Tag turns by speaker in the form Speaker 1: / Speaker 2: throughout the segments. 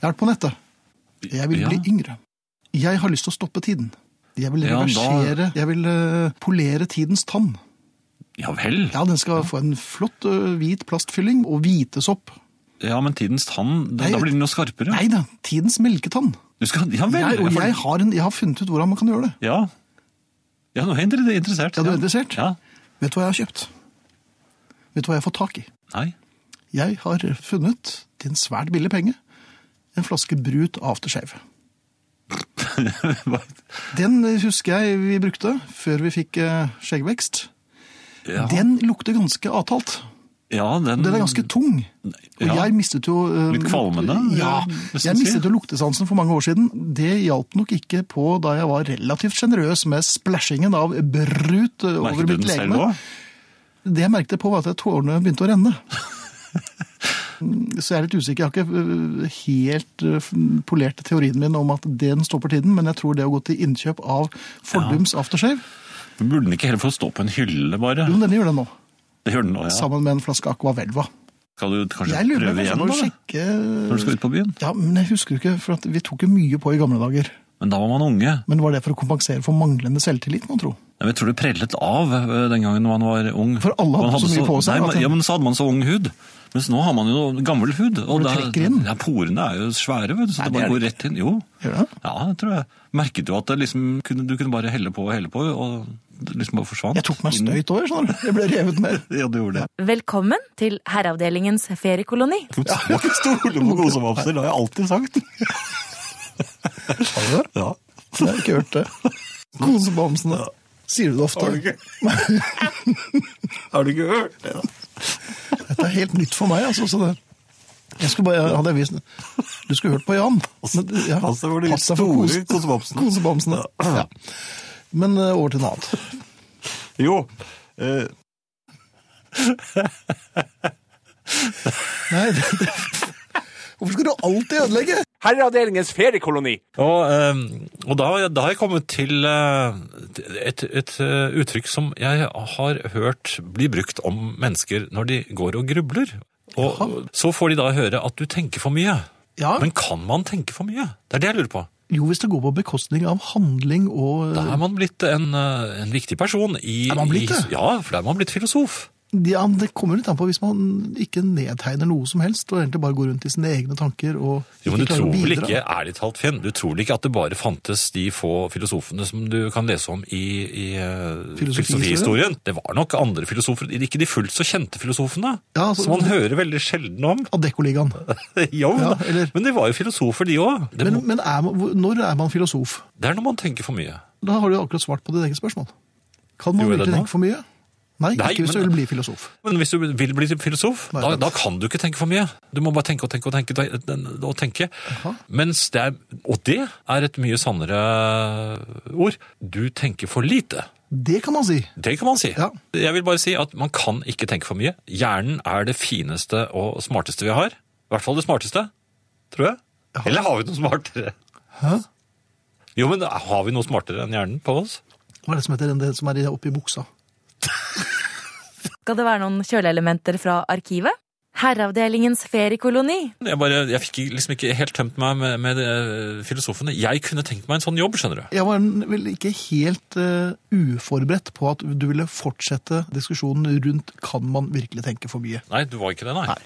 Speaker 1: Hjelp på nettet. Jeg vil
Speaker 2: Ja.
Speaker 1: bli yngre. Jeg har lyst til å stoppe tiden. Jeg vil
Speaker 2: Ja, da-
Speaker 1: reversere Jeg vil eh, polere tidens tann.
Speaker 2: Ja vel.
Speaker 1: Ja, den skal få en flott eh, hvit plastfylling og hvitesopp.
Speaker 2: Ja, men tidens tann, da,
Speaker 1: Nei.
Speaker 2: da blir den jo skarpere.
Speaker 1: Nei da, tidens melketann.
Speaker 2: Du skal, ja vel.
Speaker 1: Jeg, og
Speaker 2: for-
Speaker 1: jeg har, en, jeg har funnet ut hvordan man kan gjøre det.
Speaker 2: Ja. Ja, nå er jeg inter- interessert.
Speaker 1: Ja, du er interessert?
Speaker 2: Ja.
Speaker 1: Vet du hva jeg har kjøpt? Vet du hva jeg har fått tak i?
Speaker 2: Nei.
Speaker 1: Jeg har funnet, til en svært billig penge, en flaske brut aftershave.
Speaker 2: Hva-
Speaker 1: Den eh, husker jeg vi brukte før vi fikk eh, skjeggvekst.
Speaker 2: ja.
Speaker 1: Den lukter ganske avtalt.
Speaker 2: ja, den,
Speaker 1: Den er ganske tung. Og
Speaker 2: Ja.
Speaker 1: jeg mistet jo eh,
Speaker 2: Litt kvalmende,
Speaker 1: lukt- Ja.
Speaker 2: vil jeg nesten
Speaker 1: Jeg
Speaker 2: si.
Speaker 1: mistet jo luktesansen for mange år siden. Det hjalp nok ikke på da jeg var relativt sjenerøs med splæsjingen av brut eh, over
Speaker 2: Merket du
Speaker 1: mitt
Speaker 2: den selv
Speaker 1: legeme.
Speaker 2: også?
Speaker 1: Det jeg merket på var at tårene begynte å renne. Så jeg er litt usikker. Jeg har ikke øh, helt øh, f- polert teorien min om at den stopper tiden, men jeg tror det å gå til innkjøp av fordums aftershave
Speaker 2: Men Burde den ikke heller få stå på en hylle, bare?
Speaker 1: Jo, men denne gjør det nå.
Speaker 2: Det gjør den nå, ja.
Speaker 1: Sammen med en flaske Aqua Velva.
Speaker 2: Skal du kanskje
Speaker 1: Jeg lurer på om
Speaker 2: prøve
Speaker 1: jeg
Speaker 2: igjen,
Speaker 1: må
Speaker 2: da?
Speaker 1: sjekke
Speaker 2: Når du skal ut på byen?
Speaker 1: Ja, men jeg husker jo ikke, for at vi tok jo mye på i gamle dager.
Speaker 2: Men da var man unge.
Speaker 1: Men var det for å kompensere for manglende selvtillit, mon tro?
Speaker 2: Nei, men Jeg tror det prellet av eh, den gangen man var ung.
Speaker 1: For alle hadde
Speaker 2: Man
Speaker 1: så mye på seg,
Speaker 2: Nei,
Speaker 1: at
Speaker 2: men-
Speaker 1: det-
Speaker 2: ja, men så hadde man så ung hud. Mens nå har man jo gammel hud. Og
Speaker 1: det
Speaker 2: da-
Speaker 1: trekker inn.
Speaker 2: Ja, porene er jo svære, vet du, så
Speaker 1: Nei,
Speaker 2: det
Speaker 1: det
Speaker 2: bare
Speaker 1: er
Speaker 2: går rett inn. Jo.
Speaker 1: Gjør det?
Speaker 2: Ja, det tror jeg. Merket du at det liksom, kunne, du kunne bare helle på og helle på, og det liksom bare forsvant?
Speaker 1: Jeg tok meg støyt over, skjønner du. Jeg ble revet med.
Speaker 2: Ja, du gjorde det.
Speaker 3: Velkommen til Herreavdelingens feriekoloni.
Speaker 2: Må ikke stole på kosevapser, det har jeg alltid sagt.
Speaker 1: Har du det?
Speaker 2: Ja.
Speaker 1: Jeg har ikke hørt det. Kosebamsene. Sier du det ofte?
Speaker 2: Har du ikke hørt det?
Speaker 1: Dette er helt nytt for meg, altså. Så det, jeg skulle bare, hadde jeg vist, du skulle hørt på Jan. Men, ja,
Speaker 4: Pass deg for de
Speaker 1: pass deg for
Speaker 4: store
Speaker 1: kos-
Speaker 4: kosebamsene.
Speaker 1: kosebamsene. Ja. Men eh, over til noe annet.
Speaker 4: Jo. eh,
Speaker 1: Nei, det, hvorfor skal du alltid ødelegge?
Speaker 5: Herreavdelingens feriekoloni.
Speaker 2: Og, eh, og da, da har jeg kommet til eh, et, et eh, uttrykk som jeg har hørt bli brukt om mennesker når de går og grubler. Og så får de da høre at du tenker for mye.
Speaker 1: Ja.
Speaker 2: Men kan man tenke for mye? Det er det jeg lurer på.
Speaker 1: Jo, hvis det går på bekostning av handling og
Speaker 2: Da
Speaker 1: eh,
Speaker 2: er man blitt en, eh, en viktig person i
Speaker 1: Er man blitt
Speaker 2: i-
Speaker 1: det?
Speaker 2: Ja, for da er man blitt filosof.
Speaker 1: ja, Det kommer litt an på hvis man ikke nedtegner noe som helst, og egentlig bare går rundt i sine egne tanker og
Speaker 2: Jo, men du
Speaker 1: klarer å
Speaker 2: tror vel
Speaker 1: bidra.
Speaker 2: ikke, ærlig talt, Finn, du tror vel ikke at det bare fantes de få filosofene som du kan lese om i, i eh,
Speaker 1: Filosofihistorien?
Speaker 2: filosofihistorien? Det var nok andre filosofer, ikke de fullt så kjente filosofene,
Speaker 1: Ja, altså-
Speaker 2: som man hører veldig sjelden om.
Speaker 1: Adeccoligaen.
Speaker 2: jo,
Speaker 1: Ja,
Speaker 2: men-
Speaker 1: eller-
Speaker 2: men de var jo filosofer, de òg. Det,
Speaker 1: Men,
Speaker 2: må-
Speaker 1: men er man, hvor- når er man filosof?
Speaker 2: det er når man tenker for mye.
Speaker 1: Da har du akkurat svart på ditt eget spørsmål. Kan man
Speaker 2: Gjorde jeg
Speaker 1: virkelig
Speaker 2: det nå?
Speaker 1: tenke for mye? Nei,
Speaker 2: Nei,
Speaker 1: ikke hvis du
Speaker 2: men-
Speaker 1: vil bli filosof.
Speaker 2: Men hvis du vil bli filosof,
Speaker 1: Nei,
Speaker 2: da,
Speaker 1: sant.
Speaker 2: da kan du ikke tenke for mye. Du må bare tenke og tenke og tenke. og tenke. Mens det er, og det er et mye sannere ord. Du tenker for lite.
Speaker 1: Det kan man si.
Speaker 2: Det kan man si.
Speaker 1: Ja.
Speaker 2: Jeg vil bare si at man kan ikke tenke for mye. Hjernen er det fineste og smarteste vi har. I hvert fall det smarteste, tror jeg. Eller har vi noe smartere?
Speaker 1: Hæ?
Speaker 2: Jo, men har vi noe smartere enn hjernen på oss?
Speaker 1: Hva er det som heter den- det som er i- oppi buksa?
Speaker 3: Skal det være noen kjøleelementer fra arkivet? Herreavdelingens feriekoloni.
Speaker 2: Jeg, bare, jeg fikk liksom ikke helt tømt meg med, med eh, filosofene. Jeg kunne tenkt meg en sånn jobb, skjønner du.
Speaker 1: Jeg var vel ikke helt eh, uforberedt på at du ville fortsette diskusjonen rundt kan man virkelig tenke for mye.
Speaker 2: Nei, du var ikke det, nei.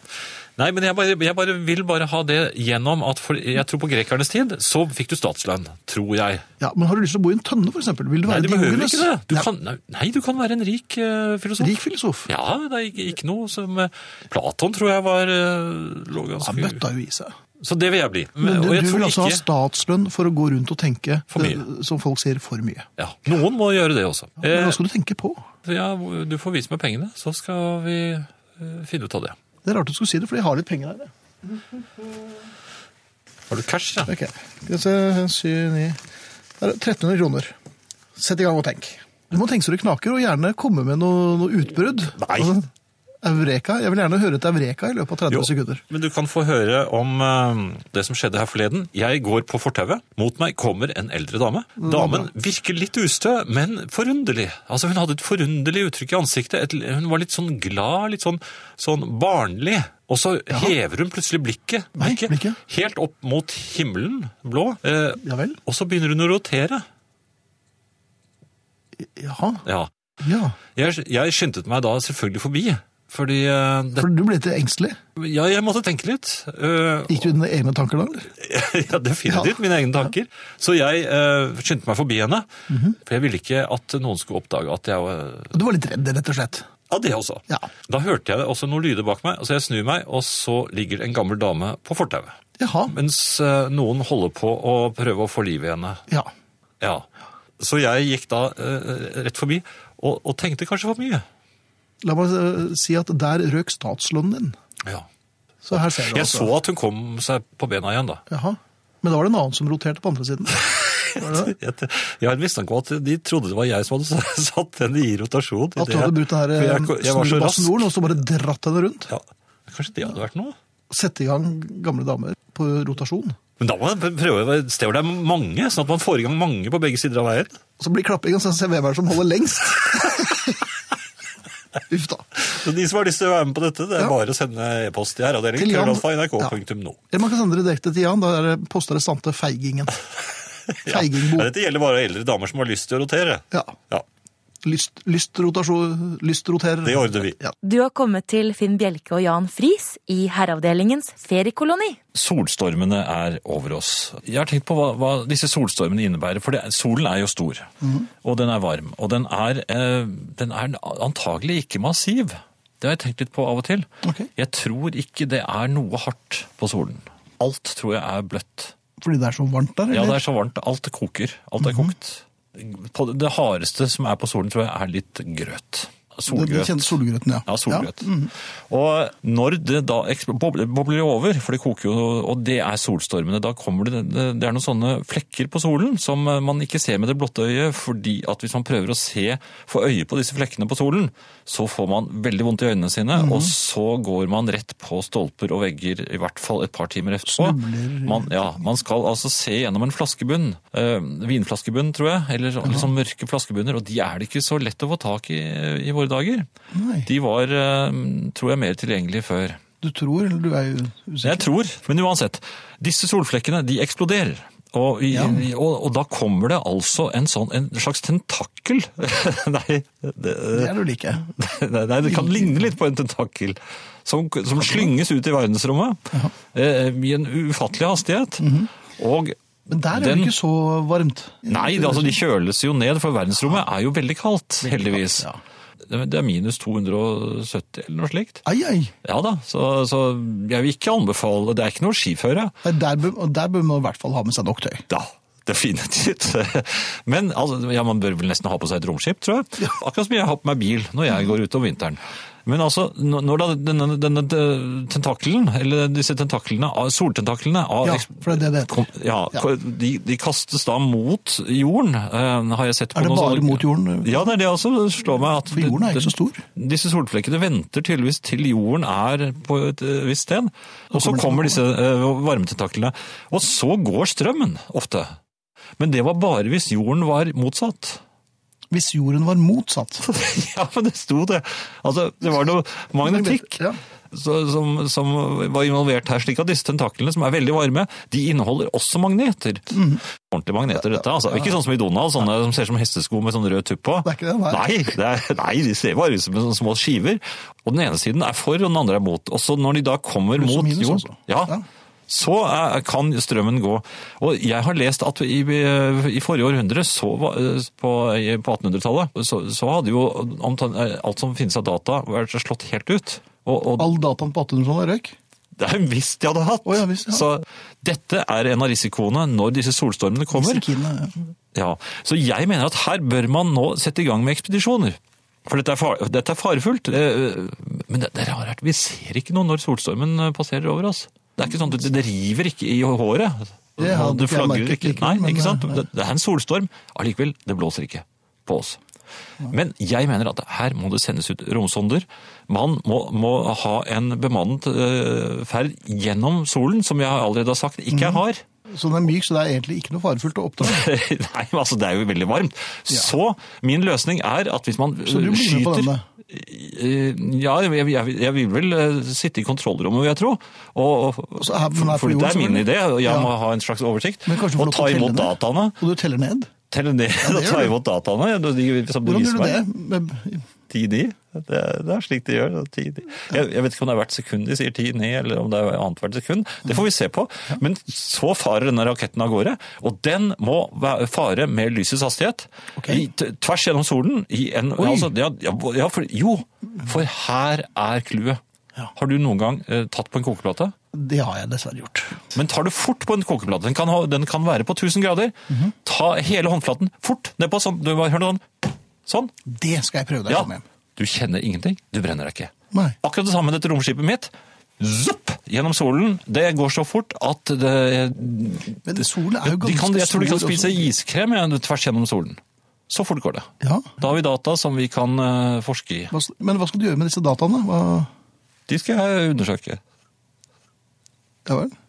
Speaker 2: Nei, men jeg bare, jeg bare vil bare ha det gjennom at for, jeg tror på grekernes tid så fikk du statslønn, tror jeg.
Speaker 1: Ja, Men har du lyst til å bo i en tønne, f.eks.? Vil du
Speaker 2: Nei,
Speaker 1: være
Speaker 2: du behøver
Speaker 1: Diogenes?
Speaker 2: ikke det. Du
Speaker 1: Nei,
Speaker 2: kan, nei, nei, du kan være en rik eh, filosof.
Speaker 1: altså. Rik filosof.
Speaker 2: Ja, det er ikke, ikke noe som eh, Platon tror jeg var eh, lå
Speaker 1: Han
Speaker 2: ganske
Speaker 1: bøtta jo i seg.
Speaker 2: Så det vil jeg bli. Men,
Speaker 1: Men du,
Speaker 2: og jeg
Speaker 1: du vil
Speaker 2: tror
Speaker 1: altså ha
Speaker 2: ikke
Speaker 1: statslønn for å gå rundt og tenke,
Speaker 2: For mye.
Speaker 1: eh, som folk sier, for mye.
Speaker 2: ja, Noen må gjøre det også.
Speaker 1: Men altså-
Speaker 2: Eh,
Speaker 1: hva skal du tenke på?
Speaker 2: ja, du får vise meg pengene, så skal vi eh, finne ut av det.
Speaker 1: Det er rart du skulle si det, for jeg har litt penger her. jeg.
Speaker 2: Har du cash, ja?
Speaker 1: Ok, skal vi se, 7, 9 Der er det 1300 kroner. Sett i gang og tenk. Du må tenke så det knaker, og gjerne komme med noe, noe utbrudd.
Speaker 2: Nei.
Speaker 1: Altså, Eureka. Jeg vil gjerne høre et eureka i løpet av 30
Speaker 2: Jo,
Speaker 1: sekunder.
Speaker 2: Men du kan få høre om eh, det som skjedde her forleden. Jeg går på fortauet. Mot meg kommer en eldre dame.
Speaker 1: Mm.
Speaker 2: Damen virker litt ustø, men forunderlig. Altså, Hun hadde et forunderlig uttrykk i ansiktet. Et, hun var litt sånn glad, litt sånn, sånn barnlig. Og så hever hun plutselig blikket,
Speaker 1: Nei, blikket.
Speaker 2: helt opp mot himmelen blå. eh,
Speaker 1: Ja vel?
Speaker 2: og så begynner hun å rotere.
Speaker 1: Jaha.
Speaker 2: Ja.
Speaker 1: Ja.
Speaker 2: Jeg, jeg skyndte meg da selvfølgelig forbi. Fordi eh, det,
Speaker 1: For du ble litt engstelig.
Speaker 2: ja, jeg måtte tenke litt. eh,
Speaker 1: Gikk du i dine egne tanker da? eller?
Speaker 2: ja, definitivt. Mine egne tanker. Så jeg eh, skyndte meg forbi henne. For jeg ville ikke at noen skulle oppdage at jeg var
Speaker 1: Du var litt redd, rett og slett.
Speaker 2: Av det også.
Speaker 1: Ja.
Speaker 2: Da hørte jeg også noen lyder bak meg, så jeg snur meg, og så ligger en gammel dame på fortauet.
Speaker 1: Jaha.
Speaker 2: Mens eh, noen holder på å prøve å få liv i henne.
Speaker 1: Ja.
Speaker 2: Ja. Så jeg gikk da eh, rett forbi, og, og tenkte kanskje for mye.
Speaker 1: La meg eh, si at der røk statslønnen din.
Speaker 2: Ja.
Speaker 1: Så her ser du
Speaker 2: Jeg
Speaker 1: altså.
Speaker 2: så at hun kom seg på bena igjen, da.
Speaker 1: Jaha. Men da var det en annen som roterte på andre siden. Var det det?
Speaker 2: Jeg, jeg har en mistanke om at de trodde det var jeg som hadde satt henne i rotasjon. i
Speaker 1: At
Speaker 2: det-
Speaker 1: du hadde brukt den
Speaker 2: For
Speaker 1: her eh,
Speaker 2: jeg, jeg var så rask.
Speaker 1: snurrebassnoren og så bare dratt henne rundt.
Speaker 2: Ja, Kanskje det hadde vært noe?
Speaker 1: Sette i gang gamle damer på rotasjon.
Speaker 2: Men da må man prøve et sted hvor det er mange, sånn at man får i gang mange på begge sider av veien.
Speaker 1: Og så blir klapping, og så ser vi hvem er det som holder lengst. Uff da.
Speaker 2: Så de som har lyst til å være med på dette, det er bare å sende e-post til
Speaker 1: Til Jan-
Speaker 2: herreavdelingen.nrk.no.
Speaker 1: Eller man kan sende det direkte til Jan, da er det posterrestante Feigingen. Feigingbo.
Speaker 2: Ja, dette gjelder bare eldre damer som har lyst til å rotere.
Speaker 1: Ja.
Speaker 2: Ja,
Speaker 1: Lyst, lystrotasjon, lystroterer.
Speaker 2: Det ordner vi.
Speaker 1: Ja.
Speaker 3: Du har kommet til Finn Bjelke og Jan Friis i Herreavdelingens feriekoloni.
Speaker 2: Solstormene er over oss. Jeg har tenkt på hva, hva disse solstormene innebærer, for det, solen er jo stor,
Speaker 1: Mhm.
Speaker 2: og den er varm, og den er, eh, den er antagelig ikke massiv. Det har jeg tenkt litt på av og til.
Speaker 1: Ok.
Speaker 2: Jeg tror ikke det er noe hardt på solen. Alt tror jeg er bløtt.
Speaker 1: Fordi det er så varmt der,
Speaker 2: Ja, det
Speaker 1: eller? Mhm.
Speaker 2: er så varmt. Alt koker. Alt er kokt. På det- det hardeste som er på solen, tror jeg er litt grøt.
Speaker 1: Den- den
Speaker 2: Solgrøt.
Speaker 1: kjente solgrøten, ja. Mm-hmm.
Speaker 2: Ja, solgrøt. Og når det da eks- boble- bobler det over, for det koker jo, og det er solstormene, da kommer det Det er noen sånne flekker på solen som eh, man ikke ser med det blotte øyet, fordi at hvis man prøver å se, få øye på disse flekkene på solen, så får man veldig vondt i øynene sine,
Speaker 1: Mm-hmm.
Speaker 2: og så går man rett på stolper og vegger i hvert fall et par timer etterpå. Man, ja, man skal altså se gjennom en flaskebunn, eh, vinflaskebunn tror jeg, eller sånn- sånn mørke flaskebunner, og de er det ikke så lett å få tak i i våre dager.
Speaker 1: Nei.
Speaker 2: De var, eh, tror jeg, mer tilgjengelige før.
Speaker 1: Du tror, eller du er jo usikker.
Speaker 2: Jeg tror, men uansett. Disse solflekkene, de eksploderer. Og, i, i- og, og da kommer det altså en, sånn, en slags tentakel. nei, det,
Speaker 1: Det er du like.
Speaker 2: nei, nei, det kan ligne litt på en tentakel. Som, som slynges ut i verdensrommet eh, i en ufattelig hastighet. Og
Speaker 1: Men der er
Speaker 2: den-
Speaker 1: det ikke så varmt.
Speaker 2: Nei, det- altså de kjøles jo ned, for verdensrommet er jo veldig kaldt, heldigvis.
Speaker 1: kaldt,
Speaker 2: Det det er minus 270 eller noe slikt.
Speaker 1: Ai, ai.
Speaker 2: Ja da, så, så jeg vil ikke anbefale Det er ikke noe skiføre.
Speaker 1: Nei, Der bør, og der bør man i hvert fall ha med seg nok tøy.
Speaker 2: Da, definitivt. Men altså, ja, man bør vel nesten ha på seg et romskip, tror jeg. Akkurat som jeg har på meg bil når jeg går ut om vinteren. Men altså, når når da denne, denne tentakelen, eller disse tentaklene, av- soltentaklene av-
Speaker 1: Ja, for det er det det heter.
Speaker 2: Kom, ja,
Speaker 1: Ja.
Speaker 2: ko- De, de kastes da mot jorden, eh, har jeg sett på
Speaker 1: Er det
Speaker 2: noen
Speaker 1: bare
Speaker 2: sånne-
Speaker 1: mot jorden?
Speaker 2: Ja, det er det jeg også slår meg. At
Speaker 1: For jorden er ikke så stor.
Speaker 2: Disse solflekkene venter tydeligvis til jorden er på et eh, visst sted. Og så
Speaker 1: kommer de
Speaker 2: kommer
Speaker 1: til
Speaker 2: disse eh, varmetentaklene. Og så går strømmen ofte. Men det var bare hvis jorden var motsatt.
Speaker 1: Hvis jorden var motsatt.
Speaker 2: ja, men det sto det. Altså, det var noe magnetikk
Speaker 1: Ja.
Speaker 2: så, som, som var involvert her. Slik at disse tentaklene, som er veldig varme, de inneholder også magneter.
Speaker 1: Mhm.
Speaker 2: Ordentlige magneter, dette. altså. Ikke sånn som i Donald, sånne som ser ut som hestesko med sånn rød tupp på.
Speaker 1: Det er ikke det, nei.
Speaker 2: Nei, det er, nei, de ser bare ut som sånne små skiver. Og den ene siden er for, og den andre er mot. Og så når de da kommer
Speaker 1: Pluss og
Speaker 2: mot
Speaker 1: minus,
Speaker 2: jorden,
Speaker 1: altså.
Speaker 2: ja,
Speaker 1: Ja.
Speaker 2: så er, kan strømmen gå. Og jeg har lest at i, i forrige århundre, så, var- Eh, på, på 1800-tallet, så, så hadde jo omtrent alt som finnes av data vært slått helt ut. Og, og
Speaker 1: All dataen på 1800-tallet røyk.
Speaker 2: det er visst de hadde hatt.
Speaker 1: Å ja, visst, ja.
Speaker 2: Så dette er en av risikoene når disse solstormene kommer.
Speaker 1: Sikine, ja.
Speaker 2: Ja, så jeg mener at her bør man nå sette i gang med ekspedisjoner. For dette er, far, dette er farefullt. Eh, Men det, det er rart, vi ser ikke noe når solstormen eh, passerer over oss. Det er ikke sånn, det, det river ikke i håret.
Speaker 1: Det hadde
Speaker 2: Og
Speaker 1: ikke
Speaker 2: det
Speaker 1: jeg
Speaker 2: flagrer
Speaker 1: merket
Speaker 2: ikke.
Speaker 1: likevel,
Speaker 2: Nei,
Speaker 1: men,
Speaker 2: ikke sant?
Speaker 1: eh,
Speaker 2: Det, det er en solstorm, allikevel, det blåser ikke på oss. Men jeg mener at her må det sendes ut romsonder. Man må, må ha en bemannet eh, ferd gjennom solen, som jeg allerede har sagt ikke
Speaker 1: Mhm.
Speaker 2: jeg har.
Speaker 1: Så den er myk, så det er egentlig ikke noe farefullt å oppdage.
Speaker 2: Nei, men altså det er jo veldig varmt. Så min løsning er at hvis man eh,
Speaker 1: Så du blir med på
Speaker 2: skyter
Speaker 1: denne?
Speaker 2: Eh, Ja, jeg, jeg, jeg vil vel eh, sitte i kontrollrommet, vil jeg tro. Og, og,
Speaker 1: så er- men er på
Speaker 2: for for dette
Speaker 1: jorden,
Speaker 2: er min
Speaker 1: selvfølgelig.
Speaker 2: idé, og jeg
Speaker 1: Ja.
Speaker 2: må ha en slags oversikt.
Speaker 1: Men kanskje du får
Speaker 2: Og
Speaker 1: lov til
Speaker 2: ta
Speaker 1: å telle
Speaker 2: imot
Speaker 1: ned?
Speaker 2: dataene.
Speaker 1: Og du teller ned?
Speaker 2: Telle ned og
Speaker 1: gjør
Speaker 2: ta
Speaker 1: du.
Speaker 2: imot dataene. De, de, som de
Speaker 1: Hvordan
Speaker 2: viser
Speaker 1: gjør du det?
Speaker 2: meg.
Speaker 1: Med-
Speaker 2: 10-9. Det, er- det er slik de gjør. da, 10-9. Jeg, jeg vet ikke om det er hvert sekund de sier 10-9, eller om det er annet hvert sekund. Det får vi se på. Men så farer denne raketten av gårde, og den må væ- fare med lysets hastighet.
Speaker 1: Ok.
Speaker 2: I, t- tvers gjennom solen. I en, altså, ja, ja, ja, for, jo, for her er clouet. Har du noen gang eh, tatt på en kokeplate?
Speaker 1: Det har jeg dessverre gjort.
Speaker 2: Men tar du fort på en kokeplate, den kan, ha, den kan være på 1000 grader,
Speaker 1: Mhm.
Speaker 2: ta hele håndflaten fort nedpå, sånn, du bare hører noe sånn, sånn,
Speaker 1: Det skal jeg prøve da jeg kommer hjem.
Speaker 2: du kjenner ingenting, du brenner deg ikke.
Speaker 1: Nei.
Speaker 2: Akkurat det samme med dette romskipet mitt. Zopp! Gjennom solen. Det går så fort at det,
Speaker 1: Men solen er jo
Speaker 2: de kan,
Speaker 1: ganske
Speaker 2: Jeg tror de kan
Speaker 1: stor
Speaker 2: spise
Speaker 1: også.
Speaker 2: iskrem ja, tvers gjennom solen. Så fort går det.
Speaker 1: Ja.
Speaker 2: Da har vi data som vi kan eh, forske i.
Speaker 1: Hva- Men hva skal du gjøre med disse dataene? Hva...
Speaker 2: De skal jeg undersøke.
Speaker 1: Ja vel?